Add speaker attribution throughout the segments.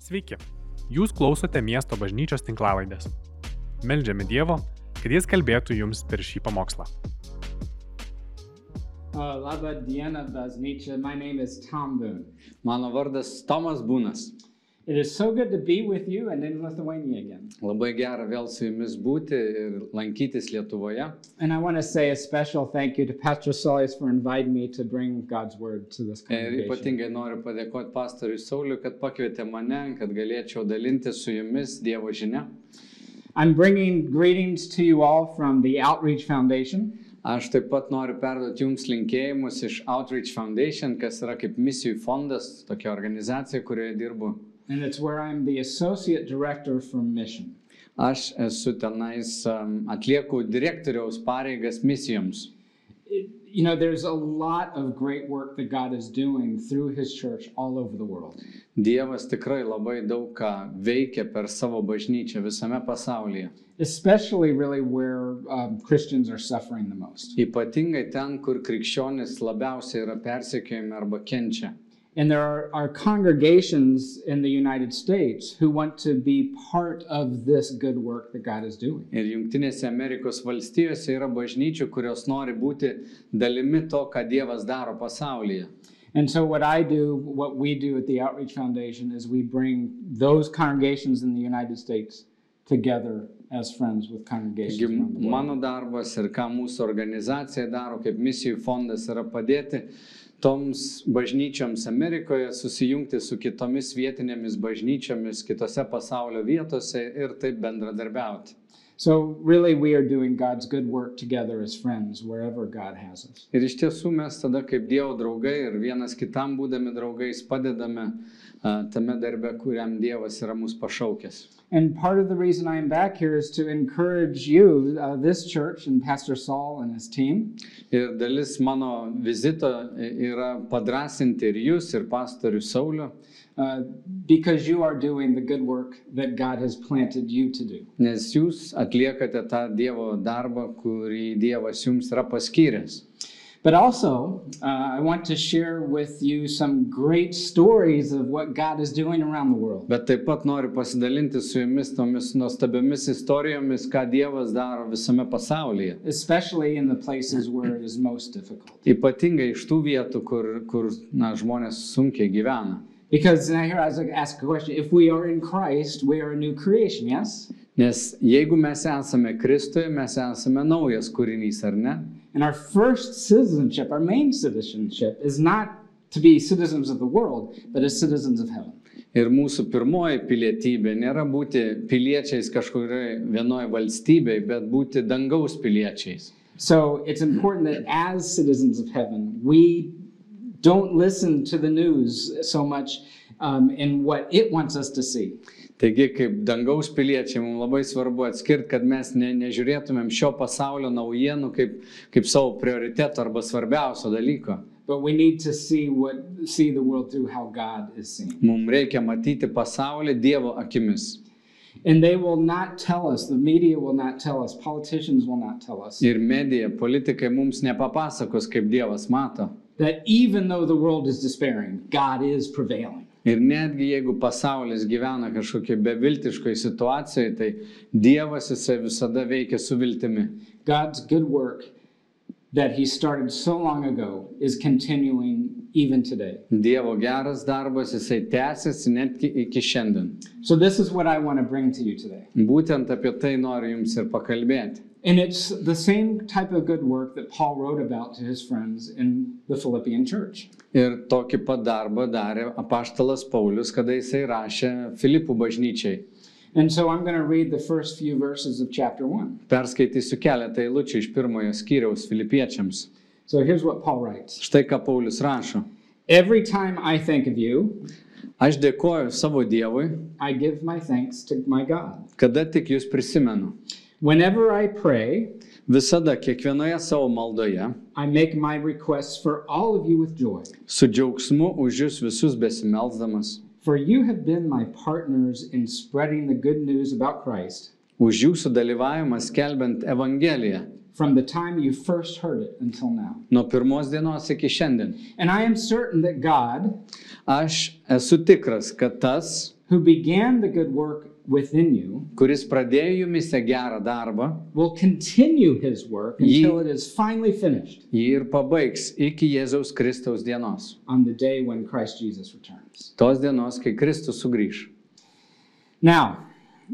Speaker 1: Sveiki, jūs klausote miesto bažnyčios tinklavaidės. Meldžiame Dievo, kad Jis kalbėtų jums per šį pamokslą.
Speaker 2: Uh, Labą dieną, baznīca. My name is Tom Boone.
Speaker 3: Mano vardas Tomas Būnas.
Speaker 2: It is so good to be with you and in Lithuania again.
Speaker 3: Labai gera vėl su jumis būti ir lankytis Lietuvoje.
Speaker 2: And I want to say a special thank you to Pastor Solis for inviting me to bring God's word to this
Speaker 3: Ir
Speaker 2: congregation.
Speaker 3: ypatingai noriu padėkoti pastoriui Sauliu, kad pakvietė mane, kad galėčiau dalinti su jumis Dievo žinia.
Speaker 2: I'm bringing greetings to you all from the Outreach Foundation.
Speaker 3: Aš taip pat noriu perduoti jums linkėjimus iš Outreach Foundation, kas yra kaip misijų fondas, tokia organizacija, kurioje dirbu.
Speaker 2: And it's where I'm the Associate Director for Mission.
Speaker 3: Aš esu tenais, um, atlieku direktoriaus pareigas misijoms.
Speaker 2: It- you know, there's a lot of great work that God is doing through His church all over the world.
Speaker 3: Dievas tikrai labai daug ką veikia per savo bažnyčią visame pasaulyje.
Speaker 2: Especially, really, where um, Christians are suffering the most.
Speaker 3: Ypatingai ten, kur krikščionis labiausiai yra persekiojami arba kenčia.
Speaker 2: And there are, are congregations in the United States who want to be part of this good work that God is doing.
Speaker 3: Ir Junktinėse Amerikos valstijose yra bažnyčių, kurios nori būti dalimi to, ką Dievas daro pasaulyje.
Speaker 2: And so, what I do, what we do at the Outreach Foundation, is we bring those congregations in the United States together as friends with congregations
Speaker 3: Taigi
Speaker 2: around the world.
Speaker 3: mano darbas ir ką mūsų organizacija daro, kaip misijų fondas, yra padėti toms bažnyčioms Amerikoje susijungti su kitomis vietinėmis bažnyčiomis kitose pasaulio vietose ir taip bendradarbiauti.
Speaker 2: So, really, we are doing God's good work together as friends wherever God has us.
Speaker 3: Ir iš tiesų mes tada kaip Dievo draugai ir vienas kitam būdami draugais padedame a, tame darbe, kuriam Dievas yra mūsų pašaukęs.
Speaker 2: And part of the reason I am back here is to encourage you, uh, this church, and Pastor Saul and his team.
Speaker 3: Ir dalis mano vizito yra padrasinti ir jūs, ir pastorių Saulio.
Speaker 2: uh, because you are doing the good work that God has planted you to do.
Speaker 3: Nes jūs atliekate tą Dievo darbą, kurį Dievas jums yra paskyręs.
Speaker 2: But also, uh, I want to share with you some great stories of what God is doing around the world.
Speaker 3: Bet taip pat noriu pasidalinti su jumis tomis nuostabiomis istorijomis, ką Dievas daro visame pasaulyje.
Speaker 2: Especially in the places where it is most difficult.
Speaker 3: Ypatingai iš tų vietų, kur, kur na, žmonės sunkiai gyvena.
Speaker 2: Because now here I was like, ask a question. If we are in Christ, we are a new creation, yes?
Speaker 3: Nes jeigu mes esame Kristuje, mes esame naujas kūrinys, ar ne?
Speaker 2: And our first citizenship, our main citizenship, is not to be citizens of the world, but as citizens of heaven.
Speaker 3: Ir mūsų pirmoji pilietybė nėra būti piliečiais kažkurioje vienoje valstybėje, bet būti dangaus piliečiais.
Speaker 2: So it's important that as citizens of heaven, we don't listen to the news so much um, in what it wants us to see.
Speaker 3: Taigi, kaip dangaus piliečiai, mums labai svarbu atskirti, kad mes ne, nežiūrėtumėm šio pasaulio naujienų kaip, kaip savo prioriteto arba svarbiausio dalyko.
Speaker 2: But we need to see what see the world through how God is seen.
Speaker 3: Mums reikia matyti pasaulį Dievo akimis.
Speaker 2: And they will not tell us, the media will not tell us, politicians will not tell us
Speaker 3: Ir medija, politikai mums nepapasakos, kaip Dievas mato.
Speaker 2: that even though the world is despairing, God is prevailing.
Speaker 3: Ir netgi jeigu pasaulis gyvena kažkokiai beviltiškoje situacijoje, tai Dievas jisai visada veikia su viltimi.
Speaker 2: God's good work that he started so long ago is continuing even today.
Speaker 3: Dievo geras darbas jisai tęsiasi netgi iki šiandien.
Speaker 2: So this is what I want to bring to you today.
Speaker 3: Būtent apie tai noriu jums ir pakalbėti.
Speaker 2: And it's the same type of good work that Paul wrote about to his friends in the Philippian church.
Speaker 3: Ir tokį pat darbą darė apaštalas Paulius, kada jisai rašė Filipų bažnyčiai.
Speaker 2: And so I'm going to read the first few verses of chapter 1.
Speaker 3: Perskaitysiu keletą eilučių iš pirmojo skyriaus filipiečiams.
Speaker 2: So here's what Paul writes
Speaker 3: Štai ką Paulius rašo.
Speaker 2: Every time I think of you,
Speaker 3: Aš dėkoju savo Dievui,
Speaker 2: I give my thanks to my God.
Speaker 3: kada tik jūs prisimenu.
Speaker 2: Whenever I pray,
Speaker 3: Visada kiekvienoje savo maldoje
Speaker 2: I make my requests for all of you with joy.
Speaker 3: su džiaugsmu už jūs visus besimelsdamas.
Speaker 2: For you have been my partners in spreading the good news about Christ
Speaker 3: Už jūsų dalyvavimą skelbiant Evangeliją
Speaker 2: from the time you first heard it until now.
Speaker 3: nuo pirmos dienos iki šiandien.
Speaker 2: And I am certain that God,
Speaker 3: Aš esu tikras, kad tas,
Speaker 2: who began the good work within you,
Speaker 3: kuris pradėjo jumise gerą darbą,
Speaker 2: will continue his work
Speaker 3: Ye-
Speaker 2: until it is finally finished
Speaker 3: jį ir pabaigs iki Jėzaus Kristaus dienos.
Speaker 2: on the day when Christ Jesus returns.
Speaker 3: Tos dienos, kai Kristus sugrįž.
Speaker 2: Now,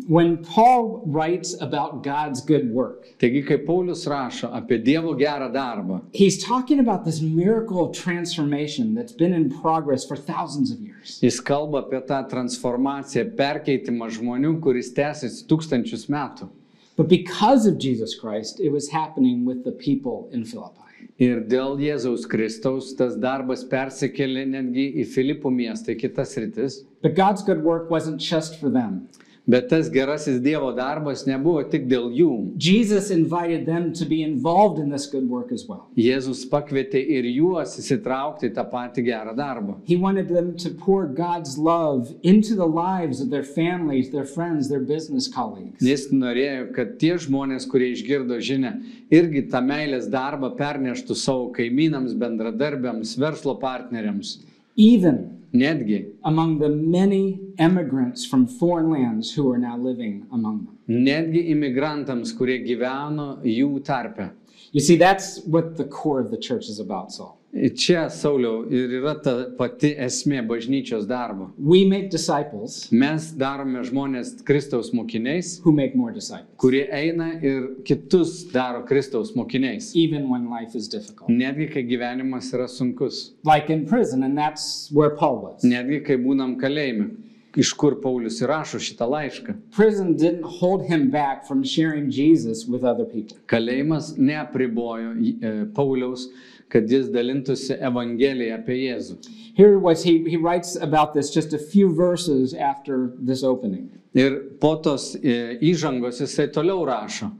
Speaker 2: when Paul writes about God's good work,
Speaker 3: Taigi, kai Paulius rašo apie Dievo gerą darbą,
Speaker 2: he's talking about this miracle of transformation that's been in progress for thousands of years.
Speaker 3: jis kalba apie tą transformaciją, perkeitimą žmonių, kuris tęsiasi tūkstančius metų.
Speaker 2: But because of Jesus Christ, it was happening with the people in Philippi.
Speaker 3: Ir dėl Jėzaus Kristaus tas darbas persikėlė netgi į Filipų miestą, į kitas rytis.
Speaker 2: But God's good work wasn't just for them.
Speaker 3: Bet tas gerasis Dievo darbas nebuvo tik dėl jų.
Speaker 2: Jesus invited them to be involved in this good work as well.
Speaker 3: Jėzus pakvietė ir juos įsitraukti į tą patį gerą darbą.
Speaker 2: He wanted them to pour God's love into the lives of their families, their friends, their business colleagues.
Speaker 3: Jis norėjo, kad tie žmonės, kurie išgirdo žinę, irgi tą meilės darbą perneštų savo kaimynams, bendradarbiams, verslo partneriams.
Speaker 2: Even
Speaker 3: Netgi,
Speaker 2: among the many emigrants from foreign lands who are now living among them.
Speaker 3: netgi imigrantams, kurie gyveno jų tarpe.
Speaker 2: You see, that's what the core of the church is about, Saul.
Speaker 3: Ir Čia, Sauliau, ir yra ta pati esmė bažnyčios darbo.
Speaker 2: We make disciples
Speaker 3: Mes darome žmonės Kristaus mokiniais,
Speaker 2: who make more disciples,
Speaker 3: kurie eina ir kitus daro Kristaus mokiniais.
Speaker 2: even when life is difficult.
Speaker 3: Netgi kai gyvenimas yra sunkus,
Speaker 2: Like in prison, and that's where Paul was.
Speaker 3: netgi kai būnam kalėjime, iš kur Paulius įrašo šitą laišką.
Speaker 2: Prison didn't hold him back from sharing Jesus with other people.
Speaker 3: Kalėjimas neapribojo e, Pauliaus, kad jis dalintųsi Evangeliją apie Jėzų.
Speaker 2: Here was he, he writes about this just a few verses after this opening.
Speaker 3: Ir po tos e, įžangos jisai toliau rašo.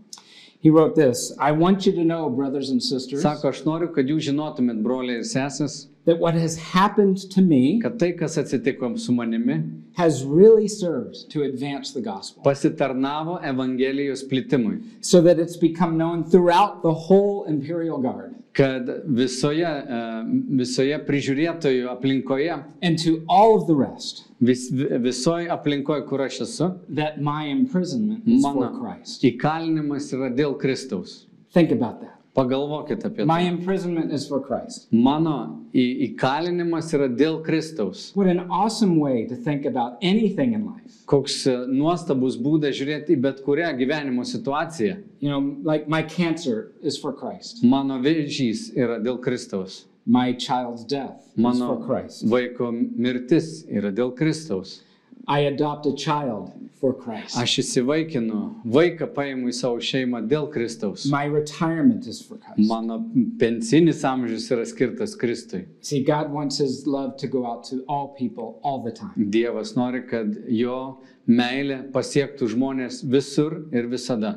Speaker 2: He wrote this I want you to know, brothers and sisters,
Speaker 3: Sako, aš noriu, kad jūs žinotumėt, broliai ir sesės,
Speaker 2: that what has happened to me
Speaker 3: kad tai, kas atsitiko su manimi,
Speaker 2: has really served to advance the gospel,
Speaker 3: pasitarnavo Evangelijos plitimui.
Speaker 2: so that it's become known throughout the whole imperial guard
Speaker 3: Kad visoje, e, visoje prižiūrėtojų aplinkoje,
Speaker 2: and to all of the rest
Speaker 3: vis, visoje aplinkoje, kur aš esu,
Speaker 2: that my imprisonment is
Speaker 3: mano
Speaker 2: for Christ.
Speaker 3: įkalinimas yra dėl Kristaus.
Speaker 2: Think about that.
Speaker 3: Pagalvokit apie
Speaker 2: My
Speaker 3: tai.
Speaker 2: imprisonment is for Christ.
Speaker 3: Mano į- įkalinimas yra dėl Kristaus.
Speaker 2: What an awesome way to think about anything in life.
Speaker 3: Koks e, nuostabus būdas žiūrėti į bet kurią gyvenimo situaciją.
Speaker 2: You know, like my cancer is for Christ.
Speaker 3: Mano vėžys yra dėl Kristaus.
Speaker 2: My child's death is
Speaker 3: Mano
Speaker 2: for Christ.
Speaker 3: vaiko mirtis yra dėl Kristaus.
Speaker 2: I adopt a child for Christ.
Speaker 3: Aš įsivaikinu, vaiką paimu į savo šeimą dėl Kristaus.
Speaker 2: My retirement is for Christ.
Speaker 3: Mano pensinis amžius yra skirtas Kristui.
Speaker 2: See, God wants His love to go out to all people all the time.
Speaker 3: Dievas nori, kad jo meilė pasiektų žmonės visur ir visada.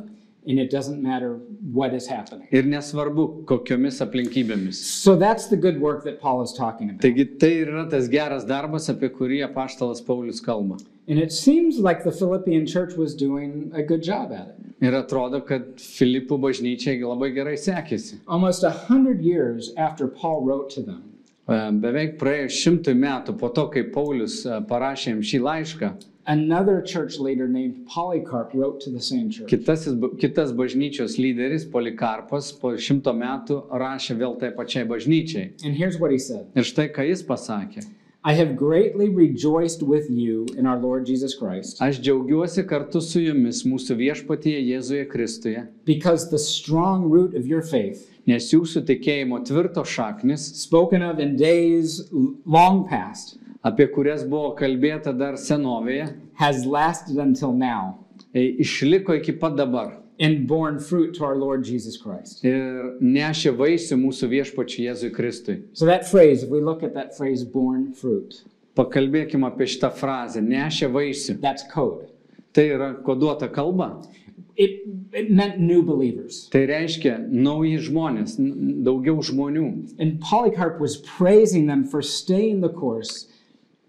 Speaker 2: And it doesn't matter what is happening.
Speaker 3: Ir nesvarbu, kokiomis aplinkybėmis.
Speaker 2: So that's the good work that Paul is talking about.
Speaker 3: Taigi tai ir yra tas geras darbas, apie kurį apaštalas Paulius kalba.
Speaker 2: And it seems like the Philippian church was doing a good job at it.
Speaker 3: Ir atrodo, kad Filipų bažnyčiai labai gerai sekėsi.
Speaker 2: Almost a hundred years after Paul wrote to them,
Speaker 3: E, Beveik praėjus šimtui metų po to, kai Paulius e, parašė jam šį laišką,
Speaker 2: another church leader named Polycarp wrote to the same church.
Speaker 3: Kitas, kitas bažnyčios lyderis Polikarpas po šimto metų rašė vėl tai pačiai bažnyčiai.
Speaker 2: And here's what he said
Speaker 3: Ir štai ką jis pasakė.
Speaker 2: I have greatly rejoiced with you in our Lord Jesus Christ,
Speaker 3: Aš džiaugiuosi kartu su jumis mūsų viešpatyje Jėzuje Kristuje,
Speaker 2: because the strong root of your faith,
Speaker 3: nes jūsų tikėjimo tvirto šaknis,
Speaker 2: spoken of in days l- long past,
Speaker 3: apie kurias buvo kalbėta dar senovėje,
Speaker 2: has lasted until now
Speaker 3: e, išliko iki pat dabar
Speaker 2: and borne fruit to our Lord Jesus Christ.
Speaker 3: ir nešė vaisių mūsų viešpačiu Jėzui Kristui.
Speaker 2: So, that phrase, if we look at that phrase, born fruit,
Speaker 3: Pakalbėkime apie šitą frazę - nešė vaisių.
Speaker 2: that's code.
Speaker 3: Tai yra koduota kalba.
Speaker 2: It, it meant new believers.
Speaker 3: Tai reiškia nauji žmonės, n- daugiau žmonių.
Speaker 2: And Polycarp was praising them for staying the course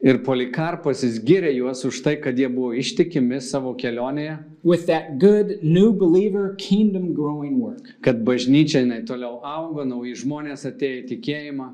Speaker 3: Ir Polikarpas jis gyrė juos už tai, kad jie buvo ištikimi savo kelionėje,
Speaker 2: with that good new believer kingdom growing work.
Speaker 3: kad bažnyčia jinai toliau augo, nauji žmonės atėjo į tikėjimą.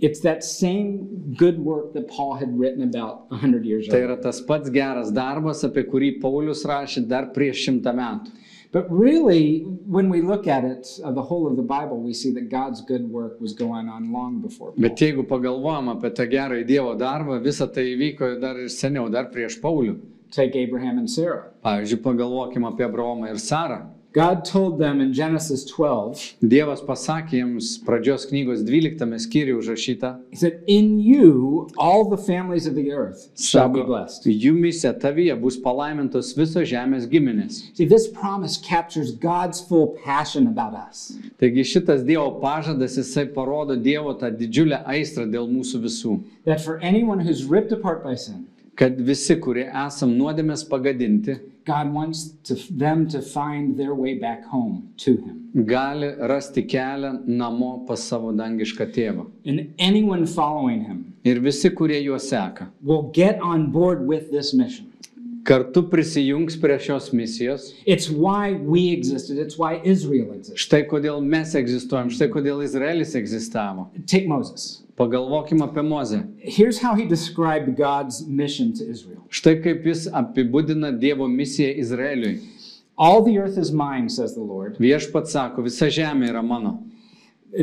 Speaker 2: It's that same good work that Paul had written about 100 years
Speaker 3: Tai
Speaker 2: earlier.
Speaker 3: yra tas pats geras darbas, apie kurį Paulius rašė dar prieš šimtą metų.
Speaker 2: But really, when we look at it, uh, the whole of the Bible, we see that God's good work was going on long before. Paul.
Speaker 3: Bet jeigu pagalvojam apie tą gerąjį Dievo darbą, visa tai įvyko dar ir seniau, dar prieš Paulių.
Speaker 2: Take Abraham and Sarah.
Speaker 3: Pavyzdžiui, pagalvokim apie Abraomą ir Sarą.
Speaker 2: God told them in Genesis 12,
Speaker 3: Dievas pasakė jiems pradžios knygos 12 skyriui užrašyta,
Speaker 2: He said, In you, all the families of the earth shall be blessed.
Speaker 3: jumise tavyje bus palaimintos visos žemės giminės.
Speaker 2: See, this promise captures God's full passion about us.
Speaker 3: Taigi šitas Dievo pažadas, jisai parodo Dievo tą didžiulę aistrą dėl mūsų visų.
Speaker 2: That for anyone who's ripped apart by sin,
Speaker 3: Kad visi, kurie esam nuodėmės pagadinti,
Speaker 2: God wants to, them to find their way back home to Him.
Speaker 3: gali rasti kelią namo pas savo dangišką tėvą.
Speaker 2: And anyone following Him
Speaker 3: Ir visi, kurie juo seka,
Speaker 2: will get on board with this mission.
Speaker 3: kartu prisijungs prie šios misijos.
Speaker 2: It's why we existed, it's why Israel existed.
Speaker 3: Štai kodėl mes egzistuojam, štai kodėl Izraelis egzistavo.
Speaker 2: Take Moses.
Speaker 3: Pagalvokim apie Mozę.
Speaker 2: Here's how he described God's mission to Israel
Speaker 3: Štai kaip jis apibūdina Dievo misiją Izraeliui.
Speaker 2: All the earth is mine, says the Lord.
Speaker 3: Viešpat sako, visa žemė yra mano.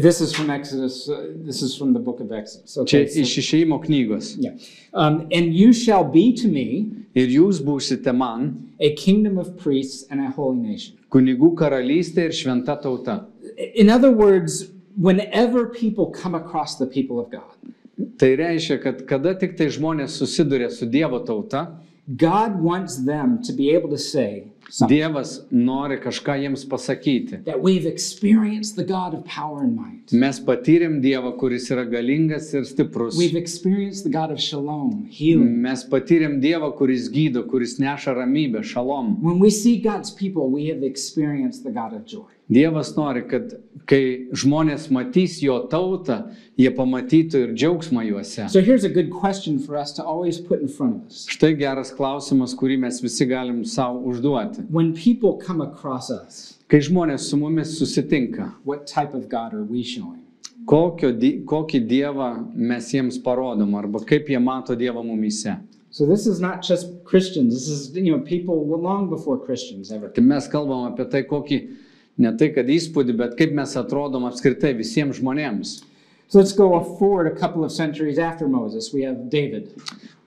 Speaker 2: This is from Exodus. Uh, this is from the book of Exodus.
Speaker 3: Čia
Speaker 2: Okay. so-
Speaker 3: iš išeimo knygos.
Speaker 2: yeah. Um, and you shall be to me
Speaker 3: Ir jūs būsite man
Speaker 2: a kingdom of priests and a holy nation.
Speaker 3: kunigų karalystė ir šventa tauta.
Speaker 2: In other words, whenever people come across the people of God,
Speaker 3: Tai reiškia, kad kada tik tai žmonės susiduria su Dievo tauta,
Speaker 2: God wants them to be able to say something
Speaker 3: Dievas nori kažką jiems pasakyti.
Speaker 2: that we've experienced the God of power and might.
Speaker 3: Mes patyrėm Dievą, kuris yra galingas ir stiprus.
Speaker 2: We've experienced the God of shalom, healing.
Speaker 3: Mes patyrėm Dievą, kuris gydo, kuris neša ramybę, šalom.
Speaker 2: When we see God's people, we have experienced the God of joy.
Speaker 3: Dievas nori, kad kai žmonės matys jo tautą, jie pamatytų ir džiaugsmą juose.
Speaker 2: So here's a good question for us to always put in front of us.
Speaker 3: Štai geras klausimas, kurį mes visi galim savo užduoti.
Speaker 2: When people come across us,
Speaker 3: Kai žmonės su mumis susitinka,
Speaker 2: what type of God are we showing?
Speaker 3: kokio, di- kokį Dievą mes jiems parodom arba kaip jie mato Dievą mumise.
Speaker 2: So this is not just Christians. This is you know people well, long before Christians ever.
Speaker 3: Tai mes kalbam apie tai, kokį ne tai, kad įspūdį, bet kaip mes atrodom apskritai visiems žmonėms.
Speaker 2: So let's go forward a couple of centuries after Moses. We have David.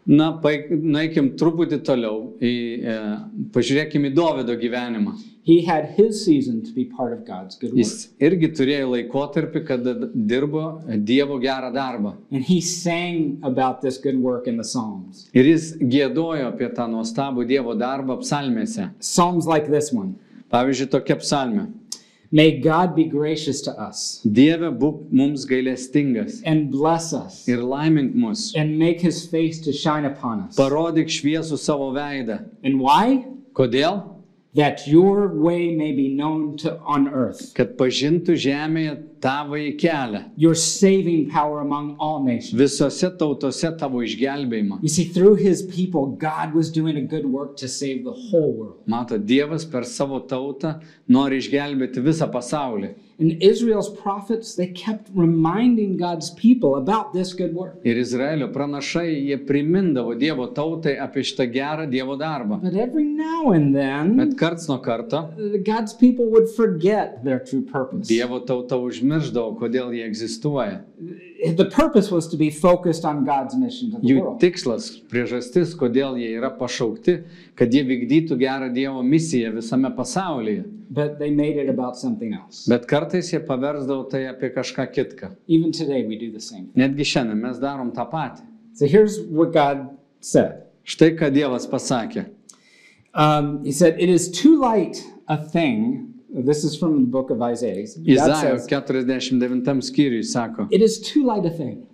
Speaker 3: Na, paik- nueikim truputį toliau, į, e, pažiūrėkim į Dovido gyvenimą.
Speaker 2: He had his season to be part of God's good work,
Speaker 3: Jis irgi turėjo laikotarpį, kada d- dirbo Dievo gerą darbą.
Speaker 2: and he sang about this good work in the Psalms.
Speaker 3: Ir jis gėdojo apie tą nuostabų Dievo darbą psalmėse.
Speaker 2: Psalms like this one.
Speaker 3: Pavyzdžiui, tokia psalmė.
Speaker 2: May God be gracious to us
Speaker 3: Dieve, būk mums gailestingas
Speaker 2: and bless us
Speaker 3: ir laimink mus.
Speaker 2: and make his face to shine upon us.
Speaker 3: Parodyk šviesų savo veidą.
Speaker 2: And why?
Speaker 3: Kodėl?
Speaker 2: That your way may be known to on earth,
Speaker 3: Kad pažintų žemėje tavo į kelią.
Speaker 2: your saving power among all nations.
Speaker 3: Visose tautose tavo išgelbėjimą.
Speaker 2: You see, through his people, God was doing a good work to save the whole world.
Speaker 3: Mato, Dievas per savo tautą nori išgelbėti visą pasaulį.
Speaker 2: And Israel's prophets, they kept reminding God's people about this good work.
Speaker 3: Ir Izraelio pranašai jie primindavo Dievo tautai apie šitą gerą Dievo darbą.
Speaker 2: But every now and then,
Speaker 3: Bet karts nuo karto
Speaker 2: uh, God's people would forget their true purpose.
Speaker 3: Dievo tauta užmirždavo, kodėl jie egzistuoja.
Speaker 2: The purpose was to be focused on God's mission to the
Speaker 3: Jų
Speaker 2: world.
Speaker 3: tikslas, priežastis, kodėl jie yra pašaukti, kad jie vykdytų gerą Dievo misiją visame pasaulyje.
Speaker 2: But they made it about something else.
Speaker 3: Bet kartais jie paversdavo tai apie kažką kitką.
Speaker 2: Even today, we do the same thing.
Speaker 3: Netgi šiandien mes darom tą patį.
Speaker 2: So here's what God said
Speaker 3: Štai ką Dievas pasakė.
Speaker 2: um, He said, It is too light a thing. This is from the book of Isaiah. God
Speaker 3: Izaijo
Speaker 2: says,
Speaker 3: 49 skyriui sako,
Speaker 2: It is too light a thing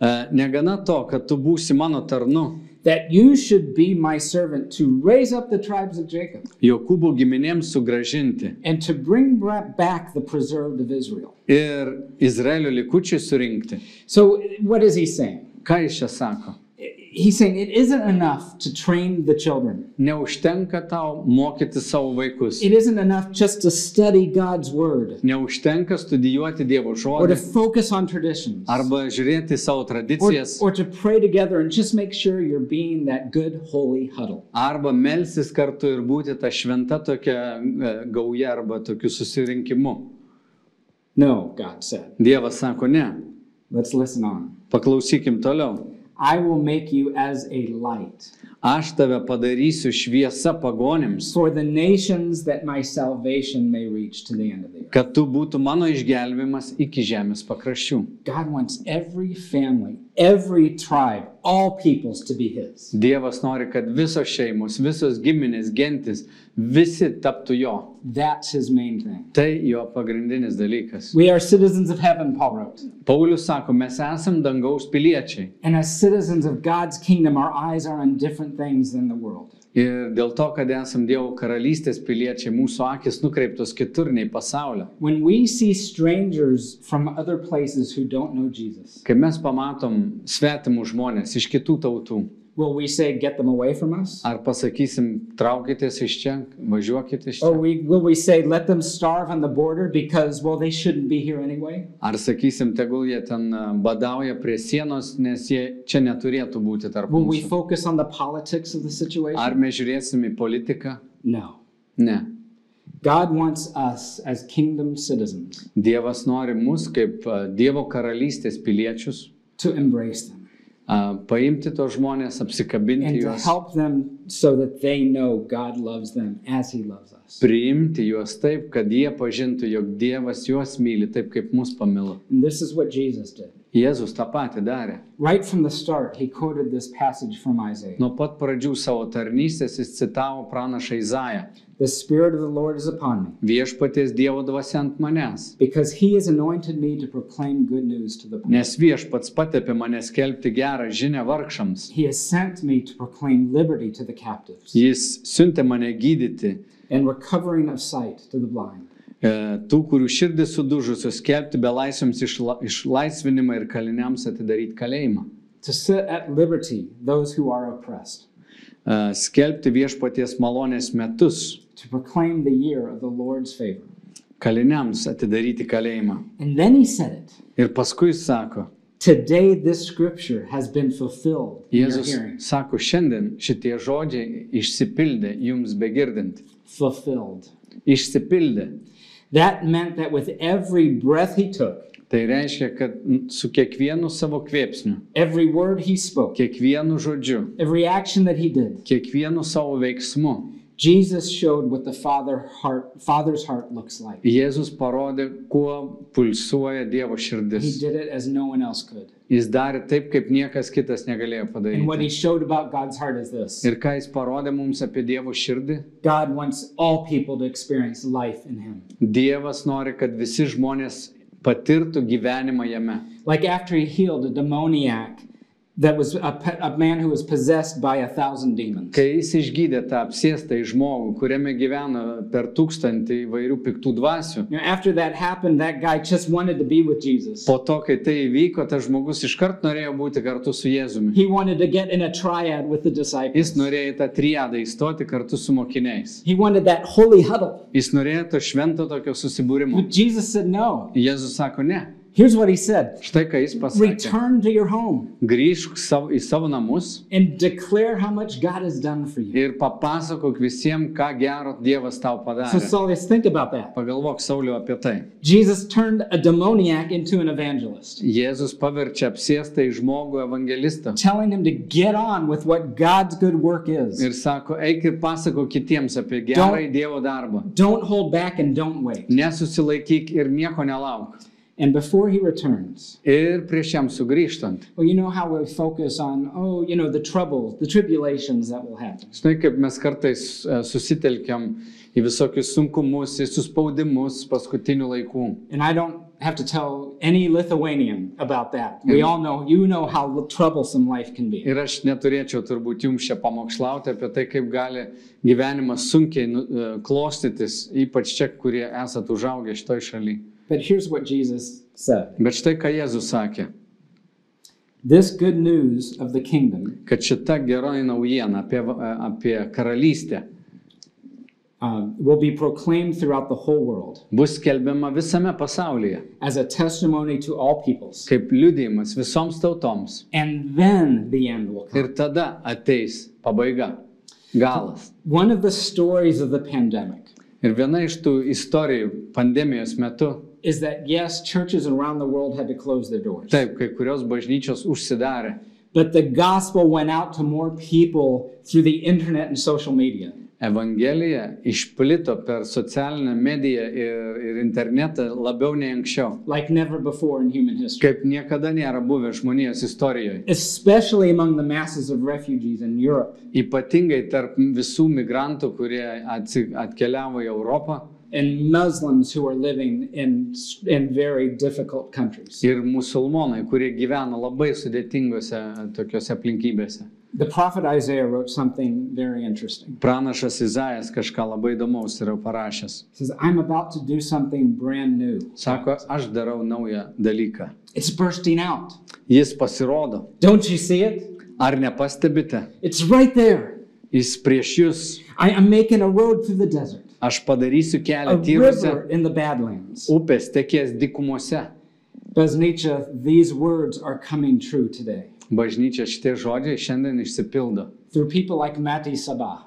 Speaker 3: "E, negana to, kad tu būsi mano tarnu,
Speaker 2: that you should be my servant to raise up the tribes of Jacob
Speaker 3: Jokūbo giminėms sugražinti
Speaker 2: and to bring bra- back the preserved of Israel.
Speaker 3: ir Izraelio likučiai surinkti.
Speaker 2: So, what is he saying?
Speaker 3: Ką jis čia sako?
Speaker 2: he's saying it isn't enough to train the children.
Speaker 3: Neužtenka tau mokyti savo vaikus.
Speaker 2: It isn't enough just to study God's word
Speaker 3: Neužtenka studijuoti Dievo
Speaker 2: or to
Speaker 3: žodį
Speaker 2: focus on traditions
Speaker 3: arba žiūrėti į savo
Speaker 2: or,
Speaker 3: tradicijas
Speaker 2: or to pray together and just make sure you're being that good holy huddle.
Speaker 3: arba melsis kartu ir būti ta šventa tokia e, gauja arba tokiu susirinkimu.
Speaker 2: No, God said.
Speaker 3: Dievas sako ne.
Speaker 2: Let's listen on.
Speaker 3: Paklausykim toliau.
Speaker 2: I will make you as a light
Speaker 3: Aš tave padarysiu šviesa pagonims,
Speaker 2: for the nations that my salvation may reach to the end of the earth.
Speaker 3: kad tu būtų mano išgelbimas iki žemės pakraščių.
Speaker 2: God wants every family, every tribe, all peoples to be His.
Speaker 3: Dievas nori, kad visos šeimos, visos giminės, gentis, visi taptų jo.
Speaker 2: That's His main thing.
Speaker 3: Tai jo pagrindinis dalykas.
Speaker 2: We are citizens of heaven, Paul wrote.
Speaker 3: Paulius sako, mes esam dangaus piliečiai
Speaker 2: And as citizens of God's kingdom, our eyes are on different things than the world.
Speaker 3: ir dėl to, kad esam Dievo karalystės piliečiai, mūsų akis nukreiptos kitur nei pasaulio.
Speaker 2: When we see strangers from other places who don't know Jesus,
Speaker 3: Kai mes pamatom svetimų žmonės iš kitų tautų,
Speaker 2: will we say, get them away from us?
Speaker 3: ar pasakysim, traukitės iš čia, važiuokite iš
Speaker 2: Or
Speaker 3: čia,
Speaker 2: we, will we say, let them starve on the border because, well, they shouldn't be here anyway?
Speaker 3: ar sakysim, tegul jie ten a, badauja prie sienos, nes jie čia neturėtų būti tarp
Speaker 2: Will we
Speaker 3: mūsų.
Speaker 2: focus on the politics of the
Speaker 3: Ar
Speaker 2: situation?
Speaker 3: mes žiūrėsim į politiką?
Speaker 2: No.
Speaker 3: Ne.
Speaker 2: God wants us as kingdom citizens
Speaker 3: Dievas nori mus kaip a, Dievo karalystės piliečius
Speaker 2: to embrace them
Speaker 3: a, paimti tos žmonės,
Speaker 2: and
Speaker 3: apsikabinti
Speaker 2: to
Speaker 3: juos,
Speaker 2: help them so that they know God loves them as He loves us.
Speaker 3: priimti juos taip, kad jie pažintų, jog Dievas juos myli taip, kaip mus pamilo.
Speaker 2: And this is what Jesus did.
Speaker 3: Jėzus tą patį darė.
Speaker 2: Right from the start, He quoted this passage from Isaiah
Speaker 3: Nuo pat pradžių savo tarnystės jis citavo pranašą Izają.
Speaker 2: The Spirit of the Lord is upon me,
Speaker 3: Viešpaties Dievo dvasia ant manęs.
Speaker 2: because He has anointed me to proclaim good news to the poor.
Speaker 3: Nes viešpats patepė mane skelbti gerą žinę vargšams.
Speaker 2: He has sent me to proclaim liberty to the captives
Speaker 3: Jis siuntė mane gydyti
Speaker 2: and recovering of sight to the blind,
Speaker 3: e, tų, kurių širdis sudužusios, skelbti belaisviams išla, išlaisvinimą ir kaliniams atidaryti kalėjimą.
Speaker 2: to set at liberty those who are oppressed,
Speaker 3: E, skelbti viešpaties malonės metus,
Speaker 2: to proclaim the year of the Lord's favor.
Speaker 3: kaliniams atidaryti kalėjimą.
Speaker 2: And then He said it.
Speaker 3: Ir paskui jis sako,
Speaker 2: Today, this scripture has been fulfilled in your
Speaker 3: Jėzus
Speaker 2: hearing.
Speaker 3: sako, šiandien šitie žodžiai išsipildė jums begirdint.
Speaker 2: Fulfilled.
Speaker 3: Išsipildė.
Speaker 2: That meant that with every breath he took,
Speaker 3: Tai reiškia, kad n- su kiekvienu savo kvėpsniu,
Speaker 2: every word he spoke,
Speaker 3: kiekvienu žodžiu,
Speaker 2: every action that he did,
Speaker 3: kiekvienu savo veiksmu
Speaker 2: Jesus showed what the father heart, Father's heart looks like.
Speaker 3: Jėzus parodė, kuo pulsuoja Dievo
Speaker 2: He
Speaker 3: širdis.
Speaker 2: did it as no one else could.
Speaker 3: Jis darė taip, kaip niekas kitas negalėjo
Speaker 2: And what he
Speaker 3: padaryti.
Speaker 2: showed about God's heart is this
Speaker 3: Ir ką jis parodė mums apie Dievo širdį?
Speaker 2: God wants all people to experience life in him.
Speaker 3: Dievas nori, kad visi žmonės patirtų gyvenimą jame.
Speaker 2: Like after he healed a demoniac that was a, pe- a man who was possessed by a thousand demons.
Speaker 3: Kai jis išgydė tą apsėstą į žmogų, kuriame gyvena per tūkstantį įvairių piktų dvasių,
Speaker 2: You know, after that happened, that guy just wanted to be with Jesus.
Speaker 3: po to, kai tai įvyko, tas žmogus iškart norėjo būti kartu su Jėzumi.
Speaker 2: He wanted to get in a triad with the disciples.
Speaker 3: Jis norėjo į tą triadą įstoti kartu su mokiniais.
Speaker 2: He wanted that holy huddle.
Speaker 3: Jis norėjo to švento tokio susibūrimo.
Speaker 2: But Jesus said no.
Speaker 3: Jėzus sako, ne.
Speaker 2: Here's what he said
Speaker 3: Štai ką jis pasakė.
Speaker 2: Return to your home
Speaker 3: Grįžk savo, į savo namus
Speaker 2: and declare how much God has done for you.
Speaker 3: ir papasakok visiems, ką gero Dievas tau
Speaker 2: So,
Speaker 3: padarė.
Speaker 2: Solis, think about that.
Speaker 3: Pagalvok Sauliu apie tai.
Speaker 2: Jesus turned a demoniac into an evangelist,
Speaker 3: Jėzus paverčia apsėstą į žmogų evangelistą.
Speaker 2: telling him to get on with what God's good work is.
Speaker 3: Ir sako, eik ir pasako kitiems apie gerą Dievo darbą.
Speaker 2: Don't hold back and don't wait.
Speaker 3: Nesusilaikyk ir nieko nelauk.
Speaker 2: And before he returns,
Speaker 3: Ir prieš jam sugrįžtant.
Speaker 2: well, you know how we focus on, oh, you know, the troubles, the tribulations that will happen.
Speaker 3: Žinai, kaip mes kartais e, susitelkiam į visokius sunkumus, į suspaudimus paskutinių laikų.
Speaker 2: And I don't have to tell any Lithuanian about that. We all know, you know how troublesome life can be.
Speaker 3: Ir aš neturėčiau turbūt jums čia pamokslauti apie tai, kaip gali gyvenimas sunkiai nu- e, klostytis, ypač čia, kurie esat užaugę šitoj šaly.
Speaker 2: But here's what Jesus said
Speaker 3: Bet štai ką Jėzus sakė.
Speaker 2: This good news of the kingdom
Speaker 3: kad šita geroji naujiena apie, va- apie karalystę
Speaker 2: um, will be proclaimed throughout the whole world
Speaker 3: bus skelbiama visame pasaulyje
Speaker 2: as a testimony to all peoples.
Speaker 3: kaip liudijimas visoms tautoms.
Speaker 2: And then the end will come.
Speaker 3: Ir tada ateis pabaiga, galas.
Speaker 2: One of the stories of the pandemic
Speaker 3: Ir viena iš tų istorijų pandemijos metu,
Speaker 2: is that yes, churches around the world had to close their doors.
Speaker 3: taip, kai kurios bažnyčios užsidarė,
Speaker 2: But the gospel went out to more people through the internet and social media.
Speaker 3: Evangelija išplito per socialinę mediją ir, ir internetą labiau nei anksčiau,
Speaker 2: like never before in human history,
Speaker 3: kaip niekada nėra buvę žmonijos istorijoje.
Speaker 2: especially among the masses of refugees in Europe
Speaker 3: Ypatingai tarp visų migrantų, kurie atsi, atkeliavo į Europą
Speaker 2: and Muslims who are living in, in very difficult countries.
Speaker 3: ir musulmonai, kurie gyvena labai sudėtingose tokiuose aplinkybėse.
Speaker 2: The prophet Isaiah wrote something very interesting.
Speaker 3: Pranašas Izaijas kažką labai įdomaus yra parašęs.
Speaker 2: He says, I'm about to do something brand new.
Speaker 3: Sako, aš darau naują dalyką.
Speaker 2: It's bursting out.
Speaker 3: Jis pasirodo.
Speaker 2: Don't you see it?
Speaker 3: Ar nepastebite?
Speaker 2: It's right there.
Speaker 3: Jis prieš jūs.
Speaker 2: I am making a road through the desert,
Speaker 3: Aš padarysiu
Speaker 2: a
Speaker 3: kelią tyruose.
Speaker 2: river in the badlands.
Speaker 3: Upės tekės dikumuose.
Speaker 2: Does Nietzsche, these words are coming true today
Speaker 3: Bažnyčia šitie žodžiai šiandien išsipildo.
Speaker 2: through people like Mati Sabah.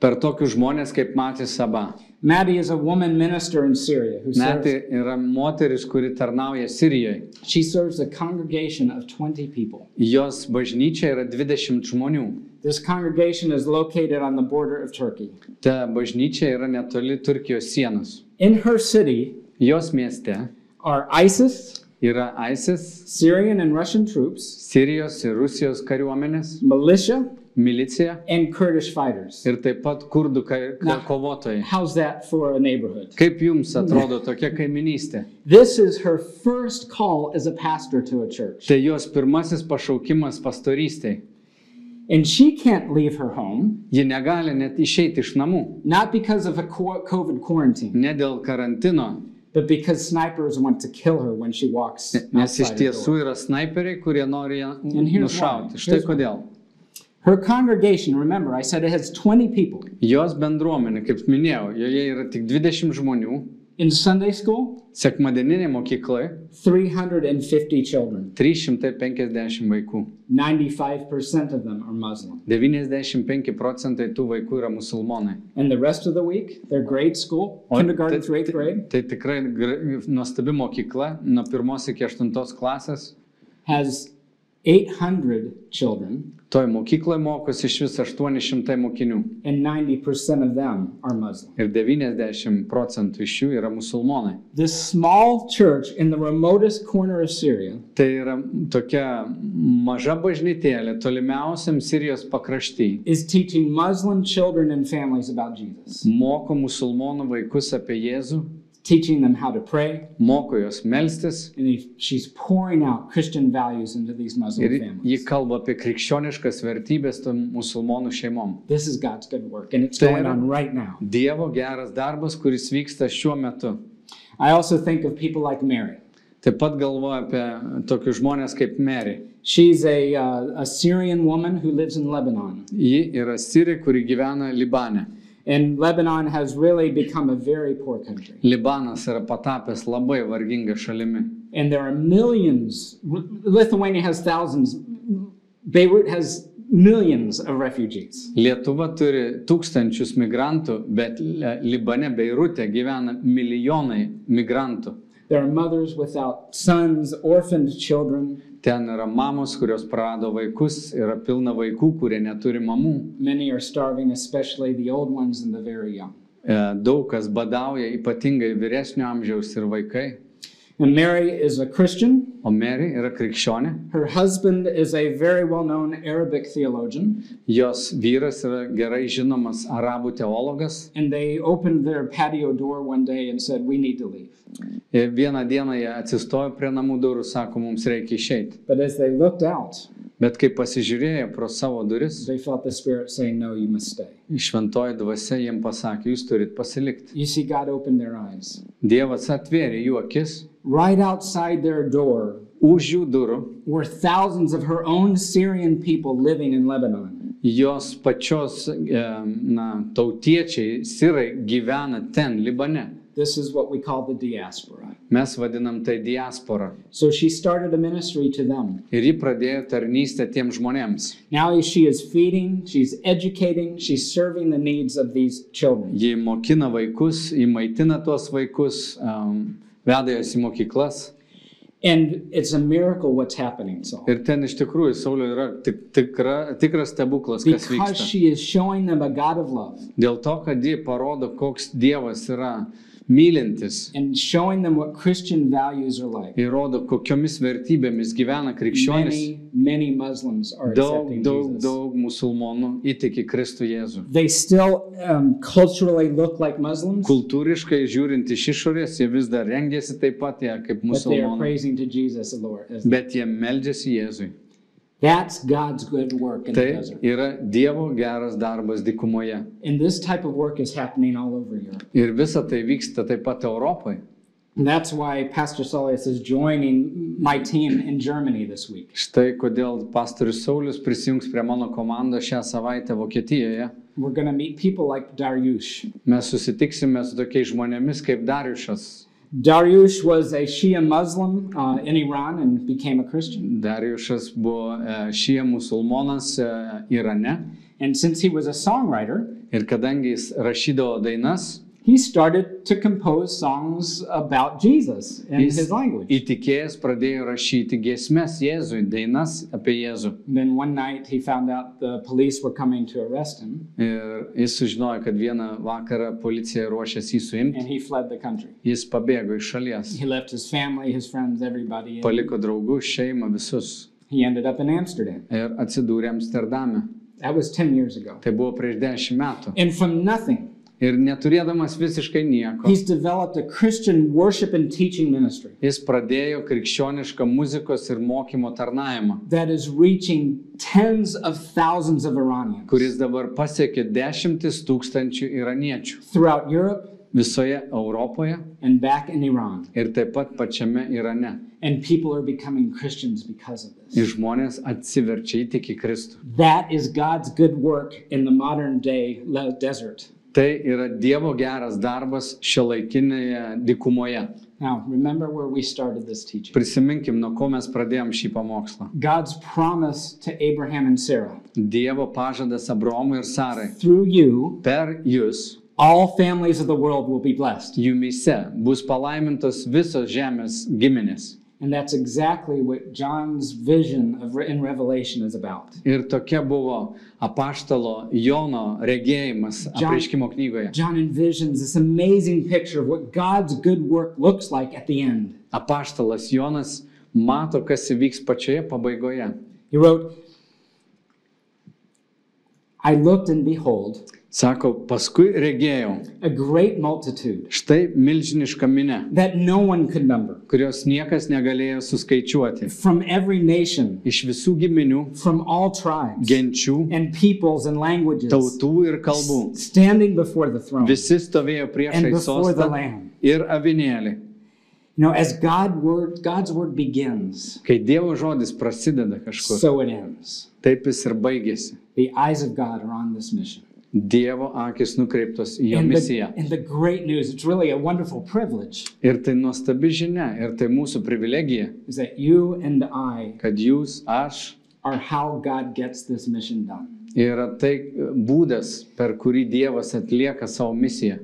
Speaker 3: Per tokius žmonės kaip Matys Saba.
Speaker 2: Maddie is a woman minister in Syria who serves,
Speaker 3: Meti yra moteris, kuri tarnauja Sirijoje.
Speaker 2: she serves a congregation of 20 people.
Speaker 3: Jos bažnyčia yra 20 žmonių.
Speaker 2: This congregation is located on the border of Turkey.
Speaker 3: Ta bažnyčia yra netoli Turkijos sienos.
Speaker 2: In her city
Speaker 3: Jos mieste
Speaker 2: are ISIS,
Speaker 3: yra ISIS,
Speaker 2: Syrian and Russian troops,
Speaker 3: Sirijos ir Rusijos kariuomenės,
Speaker 2: militia,
Speaker 3: milicija
Speaker 2: and Kurdish fighters.
Speaker 3: ir taip pat kurdų kar- kar- kovotojai.
Speaker 2: How's that for a neighborhood?
Speaker 3: Kaip jums atrodo tokia kaiminystė?
Speaker 2: This is her first call as a pastor to a church.
Speaker 3: Tai jos pirmasis pašaukimas pastorystiai.
Speaker 2: And she can't leave her home,
Speaker 3: Ji negali net išeiti iš namų.
Speaker 2: not because of a co- COVID quarantine,
Speaker 3: Ne dėl karantino,
Speaker 2: but because snipers want to kill her when she walks.
Speaker 3: nes
Speaker 2: outside
Speaker 3: iš
Speaker 2: her door.
Speaker 3: tiesų yra snaiperiai, kurie nori ją
Speaker 2: And here's
Speaker 3: nušauti.
Speaker 2: why.
Speaker 3: Štai
Speaker 2: Here's why.
Speaker 3: kodėl.
Speaker 2: Her congregation, remember, I said it has 20 people.
Speaker 3: Jos bendruomenė, kaip minėjau, joje yra tik 20 žmonių,
Speaker 2: In Sunday school,
Speaker 3: sekmadieniniai mokyklai
Speaker 2: 350 children.
Speaker 3: 350 vaikų.
Speaker 2: 95% of them are Muslim.
Speaker 3: 95 procentai tų vaikų yra musulmonai.
Speaker 2: And the rest of the week, they're grade school, kindergarten through eighth grade,
Speaker 3: tai tikrai gra- nuostabi mokykla, nuo pirmos iki aštuntos klasės.
Speaker 2: has 800 children,
Speaker 3: Toj mokykloje mokosi iš vis 800 mokinių
Speaker 2: and 90% of them are Muslim.
Speaker 3: ir 90 procentų iš jų yra musulmonai.
Speaker 2: This small church in the remotest corner of Syria
Speaker 3: Tai yra tokia maža bažnytėlė tolimiausiam Sirijos pakrašty.
Speaker 2: is teaching Muslim children and families about Jesus,
Speaker 3: Moko musulmonų vaikus apie Jėzų,
Speaker 2: teaching them how to pray,
Speaker 3: moko juos melstis
Speaker 2: and he- she's pouring out Christian values into these Muslim
Speaker 3: ir
Speaker 2: families.
Speaker 3: ji kalba apie krikščioniškas vertybės tom musulmonų šeimom.
Speaker 2: This is God's good work, and it's
Speaker 3: Fair
Speaker 2: going
Speaker 3: enough.
Speaker 2: on right now.
Speaker 3: Dievo geras darbas, kuris vyksta šiuo metu.
Speaker 2: I also think of people like Mary.
Speaker 3: Taip pat galvoju apie tokius žmonės kaip Mary.
Speaker 2: She's a, uh, a Syrian woman who lives in Lebanon.
Speaker 3: Ji yra Sirija, kuri gyvena Libane.
Speaker 2: And Lebanon has really become a very poor country.
Speaker 3: Libanas yra patapęs labai varginga šalimi.
Speaker 2: And there are millions, Lithuania has thousands, Beirut has millions of refugees.
Speaker 3: Lietuva turi tūkstančius migrantų, bet Le- Libane, Beirute gyvena milijonai migrantų.
Speaker 2: There are mothers without sons, orphaned children.
Speaker 3: Ten yra mamos, kurios prarado vaikus, yra pilna vaikų, kurie neturi mamų.
Speaker 2: Many are starving, especially the old ones and the very young.
Speaker 3: E, Daug kas badauja, ypatingai vyresnio amžiaus ir vaikai.
Speaker 2: And Mary is a Christian.
Speaker 3: O Mary yra krikščionė.
Speaker 2: Her husband is a very well known Arabic theologian,
Speaker 3: Jos vyras yra gerai žinomas arabų teologas.
Speaker 2: and they opened their patio door one day and said, We need to leave.
Speaker 3: Ir E, vieną dieną jie atsistojo prie namų durų, sako, mums reikia išeiti.
Speaker 2: But as they looked out,
Speaker 3: Bet kai pasižiūrėjo pro savo duris,
Speaker 2: they felt the Spirit saying, No, you must stay.
Speaker 3: šventoji dvasia jiem pasakė, jūs turit pasilikti.
Speaker 2: You see, God opened their eyes.
Speaker 3: Dievas atvėrė jų akis
Speaker 2: Right outside their door
Speaker 3: už jų durų
Speaker 2: were thousands of her own Syrian people living in Lebanon.
Speaker 3: jos pačios e, na, tautiečiai, sirai gyvena ten, Libane.
Speaker 2: This is what we call the diaspora.
Speaker 3: Mes vadinam tai diaspora.
Speaker 2: So she started a ministry to them.
Speaker 3: Ir ji pradėjo tarnystę tiem žmonėms.
Speaker 2: Now she is feeding, she's educating, she's serving the needs of these children.
Speaker 3: Ji mokina vaikus, ji maitina tuos vaikus, um, veda juos į mokyklas.
Speaker 2: And it's a miracle what's happening, Saul.
Speaker 3: Ir ten iš tikrųjų Saulė yra tik, tikra, tikras stebuklas,
Speaker 2: Because
Speaker 3: kas vyksta.
Speaker 2: she is showing them a God of love
Speaker 3: Dėl to, kad ji parodo, koks Dievas yra mylintis
Speaker 2: and showing them what Christian values are like.
Speaker 3: ir rodo, kokiomis vertybėmis gyvena krikščionis.
Speaker 2: Many, many Muslims are
Speaker 3: Daug,
Speaker 2: accepting
Speaker 3: daug,
Speaker 2: Jesus.
Speaker 3: daug musulmonų įtiki Kristų Jėzų.
Speaker 2: They still um, culturally look like Muslims,
Speaker 3: Kultūriškai žiūrint iš išorės, jie vis dar rengiasi taip pat jie
Speaker 2: but
Speaker 3: kaip
Speaker 2: they are
Speaker 3: musulmonai,
Speaker 2: praising to Jesus, the Lord. as-
Speaker 3: bet jie meldžiasi Jėzui.
Speaker 2: That's God's good work in
Speaker 3: Tai
Speaker 2: the desert.
Speaker 3: yra Dievo geras darbas dykumoje.
Speaker 2: And this type of work is happening all over Europe.
Speaker 3: Ir visa tai vyksta taip pat Europoje.
Speaker 2: And that's why Pastor Solius is joining my team in Germany this week.
Speaker 3: Štai kodėl pastorius Saulis prisijungs prie mano komandos šią savaitę Vokietijoje.
Speaker 2: We're going to meet people like Dariush.
Speaker 3: Mes susitiksime su tokiais žmonėmis kaip Dariušas.
Speaker 2: Dariush was a Shia Muslim uh, in Iran and became a Christian.
Speaker 3: Dariušas buvo e, šie musulmonas e, Irane
Speaker 2: And since he was a songwriter,
Speaker 3: ir kadangi jis rašydavo dainas,
Speaker 2: he started to compose songs about Jesus in
Speaker 3: jis
Speaker 2: his language.
Speaker 3: įtikėjęs pradėjo rašyti giesmes Jėzui, dainas apie Jėzų.
Speaker 2: Then one night he found out the police were coming to arrest him
Speaker 3: Ir jis sužinojo, kad vieną vakarą policija ruošėsi jį suimti.
Speaker 2: and he fled the country.
Speaker 3: Jis pabėgo iš šalies,
Speaker 2: He left his family, his friends, everybody. And
Speaker 3: paliko draugų, šeimą, visus
Speaker 2: he ended up in Amsterdam.
Speaker 3: ir atsidūrė Amsterdame.
Speaker 2: That was 10 years ago.
Speaker 3: Tai buvo prieš dešimt metų.
Speaker 2: And from nothing,
Speaker 3: Ir neturėdamas visiškai nieko,
Speaker 2: he's developed a Christian worship and teaching ministry
Speaker 3: jis pradėjo krikščionišką muzikos ir mokymo tarnavimą,
Speaker 2: that is reaching tens of thousands of Iranians
Speaker 3: kuris dabar pasiekė dešimtis tūkstančių iraniečių
Speaker 2: throughout Europe
Speaker 3: visoje Europoje
Speaker 2: and back in Iran.
Speaker 3: ir taip pat pačiame Irane.
Speaker 2: And people are becoming Christians because of
Speaker 3: Ir
Speaker 2: this.
Speaker 3: žmonės atsiverčia įtikį Kristų.
Speaker 2: That is God's good work in the modern day le- desert.
Speaker 3: Tai yra Dievo geras darbas šio laikinėje dikumoje.
Speaker 2: Now, remember where we started this teaching.
Speaker 3: Prisiminkim, nuo ko mes pradėjom šį pamokslą.
Speaker 2: God's promise to Abraham and Sarah
Speaker 3: Dievo pažadas Abromui ir Sarai.
Speaker 2: through you,
Speaker 3: Per jūs
Speaker 2: all families of the world will be blessed.
Speaker 3: jumise bus palaimintos visos žemės giminės.
Speaker 2: And that's exactly what John's vision of, in Revelation is about.
Speaker 3: Ir tokia buvo apaštalo Jono regėjimas apreiškimo knygoje.
Speaker 2: John envisions this amazing picture of what God's good work looks like at the end.
Speaker 3: Apaštalas Jonas mato, kas įvyks pačioje pabaigoje.
Speaker 2: He wrote, I looked and behold,
Speaker 3: Sako, paskui regėjau
Speaker 2: a great multitude
Speaker 3: štai milžinišką minę,
Speaker 2: that no one could number,
Speaker 3: kurios niekas negalėjo suskaičiuoti.
Speaker 2: from every nation,
Speaker 3: Iš visų giminių,
Speaker 2: from all tribes,
Speaker 3: genčių,
Speaker 2: and peoples and languages,
Speaker 3: tautų ir kalbų.
Speaker 2: standing before the throne.
Speaker 3: Visi stovėjo
Speaker 2: and
Speaker 3: priešai
Speaker 2: before the
Speaker 3: sostą
Speaker 2: Lamb.
Speaker 3: ir avinėlį.
Speaker 2: You know, as God word, God's word begins,
Speaker 3: Kai Dievo žodis prasideda kažkur,
Speaker 2: so it ends.
Speaker 3: taip jis ir baigėsi.
Speaker 2: The eyes of God are on this mission.
Speaker 3: Dievo akis nukreiptos į jo
Speaker 2: And the,
Speaker 3: misiją.
Speaker 2: and the great news, it's really a wonderful privilege,
Speaker 3: Ir tai nuostabi žinia, ir tai mūsų privilegija,
Speaker 2: is that you and I
Speaker 3: kad jūs, aš,
Speaker 2: are how God gets this mission done.
Speaker 3: yra tai būdas, per kurį Dievas atlieka savo misiją.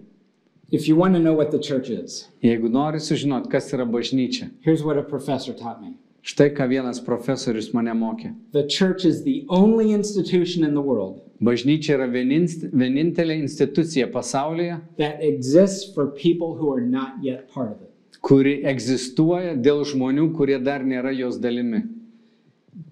Speaker 2: If you want to know what the church is,
Speaker 3: Jeigu nori sužinoti, kas yra bažnyčia,
Speaker 2: here's what a professor taught me
Speaker 3: štai ką vienas profesorius mane mokė.
Speaker 2: the church is the only institution in the world
Speaker 3: Bažnyčia yra vieninst- vienintelė institucija pasaulyje,
Speaker 2: that exists for people who are not yet part of it.
Speaker 3: kuri egzistuoja dėl žmonių, kurie dar nėra jos dalimi.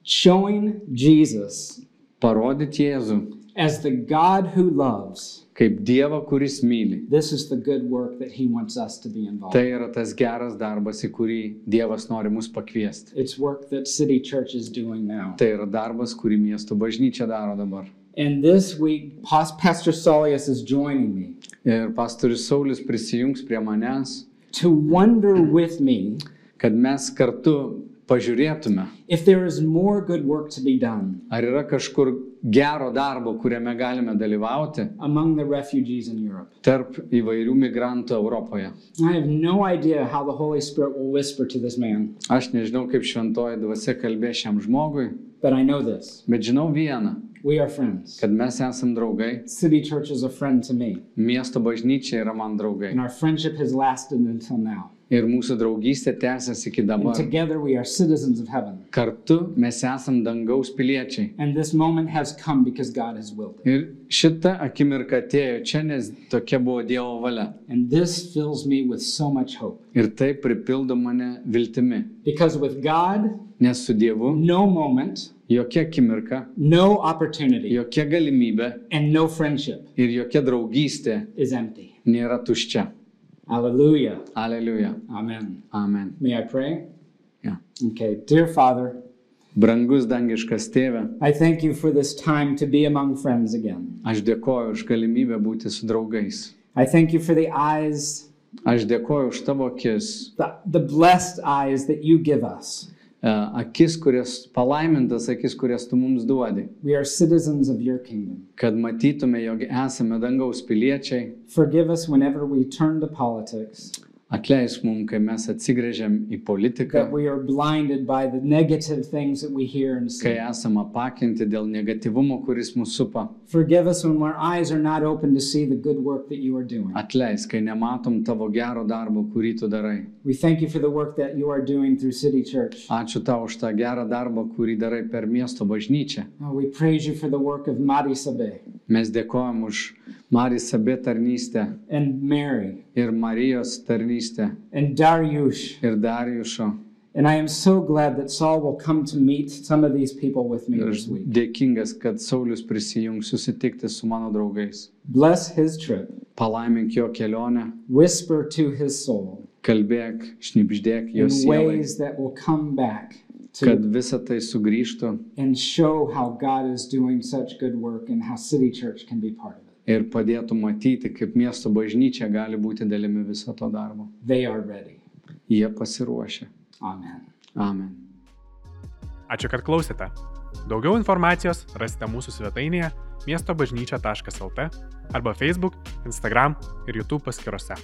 Speaker 2: Showing Jesus
Speaker 3: Parodyti Jėzų
Speaker 2: as the God who loves.
Speaker 3: kaip Dievą, kuris myli.
Speaker 2: This is the good work that he wants us to be involved
Speaker 3: Tai
Speaker 2: in.
Speaker 3: yra tas geras darbas, į kurį Dievas nori mus pakviesti.
Speaker 2: It's work that City Church is doing now.
Speaker 3: Tai yra darbas, kurį miesto bažnyčia daro dabar.
Speaker 2: And this week, Pas- Pastor Solius is joining me
Speaker 3: Ir pastorius Saulis prisijungs prie manęs,
Speaker 2: to wonder with me
Speaker 3: kad mes kartu pažiūrėtume,
Speaker 2: if there is more good work to be done
Speaker 3: ar yra kažkur gero darbo, kuriame galime dalyvauti
Speaker 2: among the refugees in Europe.
Speaker 3: tarp įvairių migrantų Europoje.
Speaker 2: I have no idea how the Holy Spirit will whisper to this man,
Speaker 3: Aš nežinau, kaip šventoji dvasia kalbė šiam žmogui,
Speaker 2: but I know this.
Speaker 3: bet žinau vieną,
Speaker 2: We are friends.
Speaker 3: kad mes esam draugai,
Speaker 2: City Church is a friend to me,
Speaker 3: miesto bažnyčia yra man draugai
Speaker 2: and our friendship has lasted until now.
Speaker 3: ir mūsų draugystė tęsiasi iki
Speaker 2: And
Speaker 3: dabar.
Speaker 2: together we are citizens of heaven.
Speaker 3: Kartu mes esam dangaus piliečiai.
Speaker 2: And this moment has come because God has willed it.
Speaker 3: Ir šita akimirka atėjo čia, nes tokia buvo Dievo valia.
Speaker 2: And this fills me with so much hope.
Speaker 3: Ir tai pripildo mane viltimi.
Speaker 2: Because with God,
Speaker 3: Nes su Dievu
Speaker 2: no moment,
Speaker 3: jokia akimirka,
Speaker 2: no opportunity,
Speaker 3: jokia galimybė
Speaker 2: and no friendship
Speaker 3: ir jokia draugystė
Speaker 2: is empty.
Speaker 3: nėra tuščia.
Speaker 2: Hallelujah.
Speaker 3: Aleliuja.
Speaker 2: Amen.
Speaker 3: Amen.
Speaker 2: May I pray?
Speaker 3: Yeah.
Speaker 2: Okay. Dear Father,
Speaker 3: Brangus dangiškas tėve,
Speaker 2: I thank you for this time to be among friends again.
Speaker 3: aš dėkoju už galimybę būti su draugais.
Speaker 2: I thank you for the eyes,
Speaker 3: Aš dėkoju už tavo akis,
Speaker 2: the, the blessed eyes that you give us.
Speaker 3: e, akis, kurias palaimintas akis, kurias tu mums duodi,
Speaker 2: We are citizens of your kingdom.
Speaker 3: kad matytume, jog esame dangaus piliečiai.
Speaker 2: Forgive us whenever we turn to politics,
Speaker 3: Atleisk mums, kai mes atsigrėžiam į politiką,
Speaker 2: that we are blinded by the negative things that we hear and
Speaker 3: kai
Speaker 2: see.
Speaker 3: esame apakinti dėl negativumo, kuris mūsų supa.
Speaker 2: Forgive us when our eyes are not open to see the good work that you are doing.
Speaker 3: Atleisk, kai nematom tavo gero darbo, kurį tu darai.
Speaker 2: We thank you for the work that you are doing through City Church.
Speaker 3: Ačiū tau už tą gerą darbą, kurį darai per miesto bažnyčią.
Speaker 2: Oh, we praise you for the work of Mari Sabe
Speaker 3: Mes dėkojam už Marisabė tarnystę
Speaker 2: and Mary
Speaker 3: ir Marijos tarnystę
Speaker 2: and Dariush.
Speaker 3: ir Darijušo.
Speaker 2: And I am so glad that Saul will come to meet some of these people with me
Speaker 3: Ir aš
Speaker 2: this week.
Speaker 3: dėkingas, kad Saulis prisijungs susitikti su mano draugais.
Speaker 2: Bless his trip.
Speaker 3: Palaimink jo kelionę,
Speaker 2: Whisper to his soul
Speaker 3: kalbėk, šnipždėk
Speaker 2: in
Speaker 3: jo sielai,
Speaker 2: ways that will come back to
Speaker 3: kad visa tai sugrįžtų
Speaker 2: and show how God is doing such good work and how City Church can be part of it.
Speaker 3: ir padėtų matyti, kaip miesto bažnyčia gali būti dalimi viso to darbo.
Speaker 2: They are ready.
Speaker 3: Jie pasiruošia.
Speaker 2: Amen.
Speaker 3: Amen.
Speaker 1: Ačiū, kad klausėte. Daugiau informacijos rasite mūsų svetainėje miestobažnyčia.lt arba Facebook, Instagram ir YouTube paskiruose.